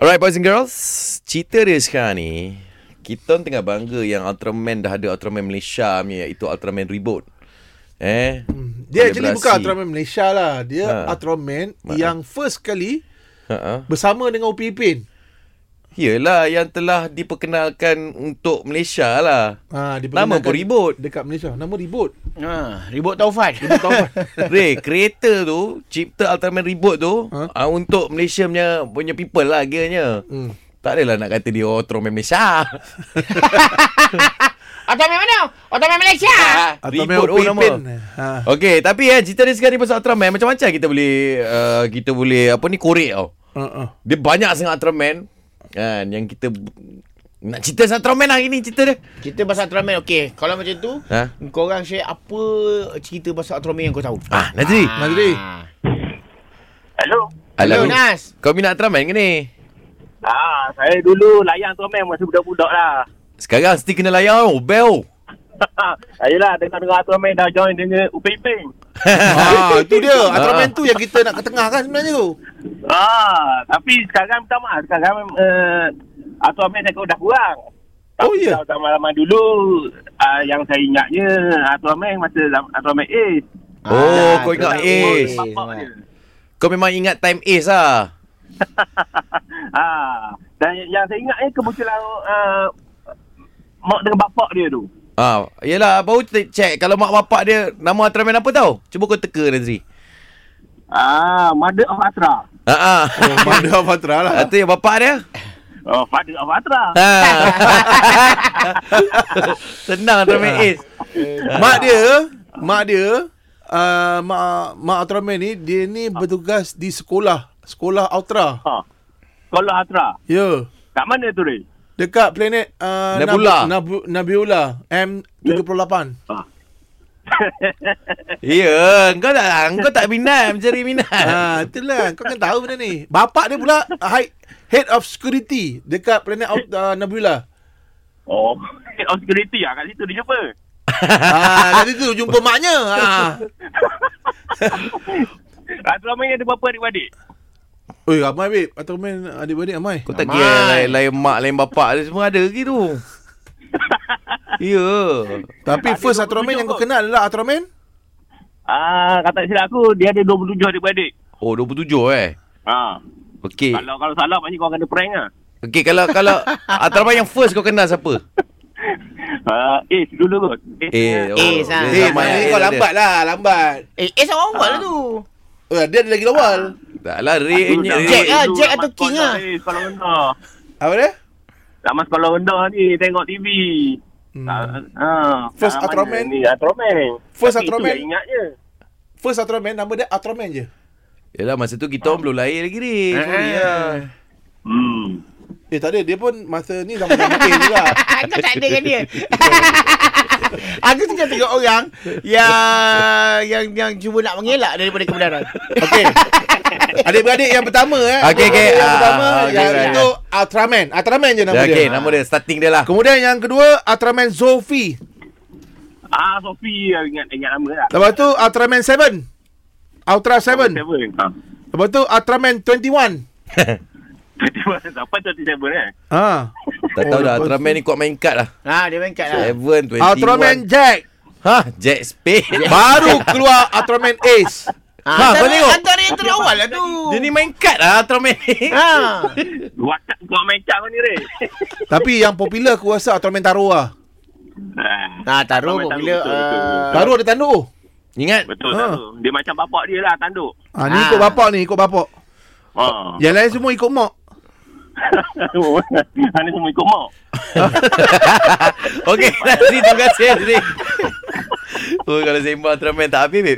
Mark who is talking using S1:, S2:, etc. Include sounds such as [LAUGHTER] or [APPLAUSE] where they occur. S1: Alright boys and girls, cerita dia sekarang ni kita orang tengah bangga yang Ultraman dah ada Ultraman Malaysia punya iaitu Ultraman Reboot. Eh.
S2: Hmm. Dia
S1: kolaborasi.
S2: actually bukan Ultraman Malaysia lah. Dia
S1: Ha.
S2: Ultraman
S1: Ha.
S2: yang first kali
S1: Ha-ha.
S2: bersama dengan Upi Ipin.
S1: Yelah yang telah diperkenalkan untuk Malaysia lah.
S2: Ha, dia
S1: Nama
S2: perkenalkan
S1: pun ribut.
S2: Dekat Malaysia. Nama ribut.
S3: Ha, ribut taufan. [LAUGHS]
S2: [LAUGHS]
S1: Ray, creator tu, cipta Ultraman Reboot tu
S2: Ha?
S1: huh? untuk Malaysia punya, punya people lah kiranya.
S2: Hmm.
S1: Tak adalah nak kata dia Ultraman Malaysia.
S3: Otomen mana? Otomen Malaysia.
S2: Ultraman
S1: Reboot, oh
S2: Upi
S1: nama.
S2: Ipin. Ha.
S1: Okey, tapi eh cerita dia sekarang ni pasal Ultraman macam-macam kita boleh uh, kita boleh apa ni korek tau.
S2: Ha. ha.
S1: Dia banyak sangat Ultraman kan yang kita nak cerita pasal Ultraman hari ni cerita dia.
S3: Cerita pasal Ultraman okey. Kalau macam tu,
S1: Ha?
S3: ha? kau orang share apa cerita pasal Ultraman yang kau tahu?
S1: Ah, Nazri.
S2: Nazri.
S4: Hello.
S1: Alah,
S3: Hello
S1: kau-
S3: Nas.
S1: kau minat Ultraman ke ni?
S4: Ah, saya dulu layan tu main masa budak-budak lah. [LAUGHS]
S1: Sekarang mesti kena layan oh, bell.
S4: Ayolah, lah dengar-dengar tu main dah join dengan Upi Ping.
S1: [LAUGHS]
S2: ha, tu dia. Ultraman
S1: Ha.
S2: tu yang kita nak ketengahkan sebenarnya tu.
S4: Ah, tapi sekarang minta maaf. Sekarang uh, Atua main saya kau dah kurang. Tapi
S2: Oh, ya?
S4: kalau Lama-lama dulu, uh, yang saya ingatnya Atua main masa Atua main eh.
S1: Oh, kau
S3: tu
S1: ingat
S3: tak
S1: Ace.
S3: boleh.
S4: Bapak dia. [LAUGHS]
S1: Kau memang ingat time Ace lah.
S4: Ah, dan yang saya ingat eh kebetulan uh, mak dengan bapak dia tu.
S1: Ah, yelah baru te- check kalau mak bapak dia nama Ultraman apa tau? Cuba kau teka Nazri.
S4: Ah, Mother of Atra.
S1: Ha ah.
S2: Oh, Mada Fatra lah.
S1: Itu yang bapak dia.
S4: Oh, Father of Atra.
S1: Ha. [LAUGHS] Senang Ultraman Ace.
S2: Mak dia, mak dia, uh, mak mak Ultraman ni dia ni bertugas di sekolah, sekolah Ultra.
S4: Ha. Sekolah Atra.
S2: Ya. Yeah.
S4: Kat mana tu, Ray?
S2: Dekat planet uh,
S1: Nebula.
S2: Nabu, Nebula M38.
S4: Ah.
S1: Ya, kau tak kau tak minat mencari minat.
S2: Ha, itulah kau kan tahu benda ni. Bapak dia pula hi, head of security dekat planet Out- uh, Nebula.
S4: [LAUGHS] Oh, head of security lah kat situ dia jumpa.
S2: Ha, tadi tu jumpa maknya. Ha.
S4: Atra main ada berapa adik-adik?
S2: Oi, ramai babe. Atau main adik-adik ramai.
S1: Kau tak
S3: Ramai.
S1: kira lain, lain mak, lain bapak dia semua ada lagi tu. Ya.
S2: Tapi
S4: Adik
S2: first
S4: dua puluh
S2: Ultraman
S4: tujuh
S2: yang kau
S4: kot.
S2: kenal adalah Ultraman.
S4: Ah, kata tak silap aku, dia ada 27 adik-adik.
S1: Oh, 27 eh.
S4: Ha.
S1: Okey.
S4: Kalau kalau salah maknanya kau kena prank lah.
S1: Okey, kalau kalau Ultraman yang first kau kenal siapa?
S4: Uh, eh, dulu kot.
S1: Eh,
S3: Ace, ah.
S1: dia ramai
S2: Eh, maknanya
S1: Ace
S2: kau
S1: ada.
S2: lambat lah, lambat.
S3: Eh, Ace awal awal lah tu.
S2: Oh, dia ada lagi awal.
S1: Tak lah, Ray.
S4: Aku dah
S1: Ray-
S3: Jack lah,
S4: dulu
S3: Jack
S4: zaman
S3: atau King
S4: sekolah
S3: lah.
S4: ni, Sekolah rendah.
S2: Apa dia?
S4: Lama sekolah rendah ni, tengok TV.
S2: Hmm.
S4: Ah, ah,
S2: First
S4: ah, mana
S2: Ultraman.
S4: Ni, Ultraman.
S2: First
S4: Tapi itu
S2: Ultraman.
S4: yang ingat je.
S2: First Ultraman nama dia Ultraman je.
S1: Yelah masa tu kita orang belum lahir lagi ni. Sorry lah.
S4: Hmm.
S2: Eh tak ada dia pun masa ni zaman-zaman A juga.
S3: Kau tak ada kan dia. [LAUGHS] Aku suka tengok orang yang yang yang cuba nak mengelak daripada kebenaran. [LAUGHS]
S2: Okey. Adik-beradik yang pertama eh.
S1: Okey, okey.
S2: Adik-beradik Yang
S1: Ah,
S2: pertama
S1: okey,
S2: yang
S1: okey.
S2: itu Ultraman. Ultraman je nama
S1: Ya,
S2: dia.
S1: okay, nama dia starting dia
S2: [LAUGHS]
S1: lah.
S2: Kemudian yang kedua Ultraman Zofi.
S4: Ah, Sophie ah, ingat ingat nama lah.
S2: Lepas tu Ultraman 7. Ultra 7.
S4: Seven. Ha.
S2: Lepas tu Ultraman 21.
S4: [LAUGHS] Siapa tu seven eh?
S2: Ha.
S1: Tak tahu
S2: Oh,
S1: dah
S2: lepas
S1: Ultraman ni kuat main kad lah.
S3: Ha, dia main kat lah.
S1: Seven, twenty
S2: Ultraman Jack.
S1: Ha, Jack Spade.
S2: Baru keluar Ultraman Ace.
S3: Ha,
S1: Ha, kau
S3: antara,
S1: tengok.
S3: antara yang terawal lah tu.
S1: [LAUGHS] Dia ni main kad lah Ultraman ni.
S3: Ha.
S4: WhatsApp kau main cak kau ni, Ray.
S2: Tapi yang popular aku rasa Ultraman Taro lah.
S4: ah,
S3: Nah, taruh
S4: Ramai
S3: pun
S4: taruh,
S3: bila
S4: betul, betul,
S3: uh,
S4: betul.
S2: Taro ada tanduk.
S1: Ingat?
S4: betul
S2: Ha.
S4: ha. tu. Dia macam bapak dia lah, tanduk.
S2: Ha, ni
S3: Ah.
S2: ikut bapak ni, ikut bapak.
S4: Ha.
S2: Yang lain semua ikut mak.
S4: Ini semua ikut mak.
S1: [LAUGHS] Okey, Nazri terima kasih Nazri. Oh, kalau sembang Ultraman tak habis, babe.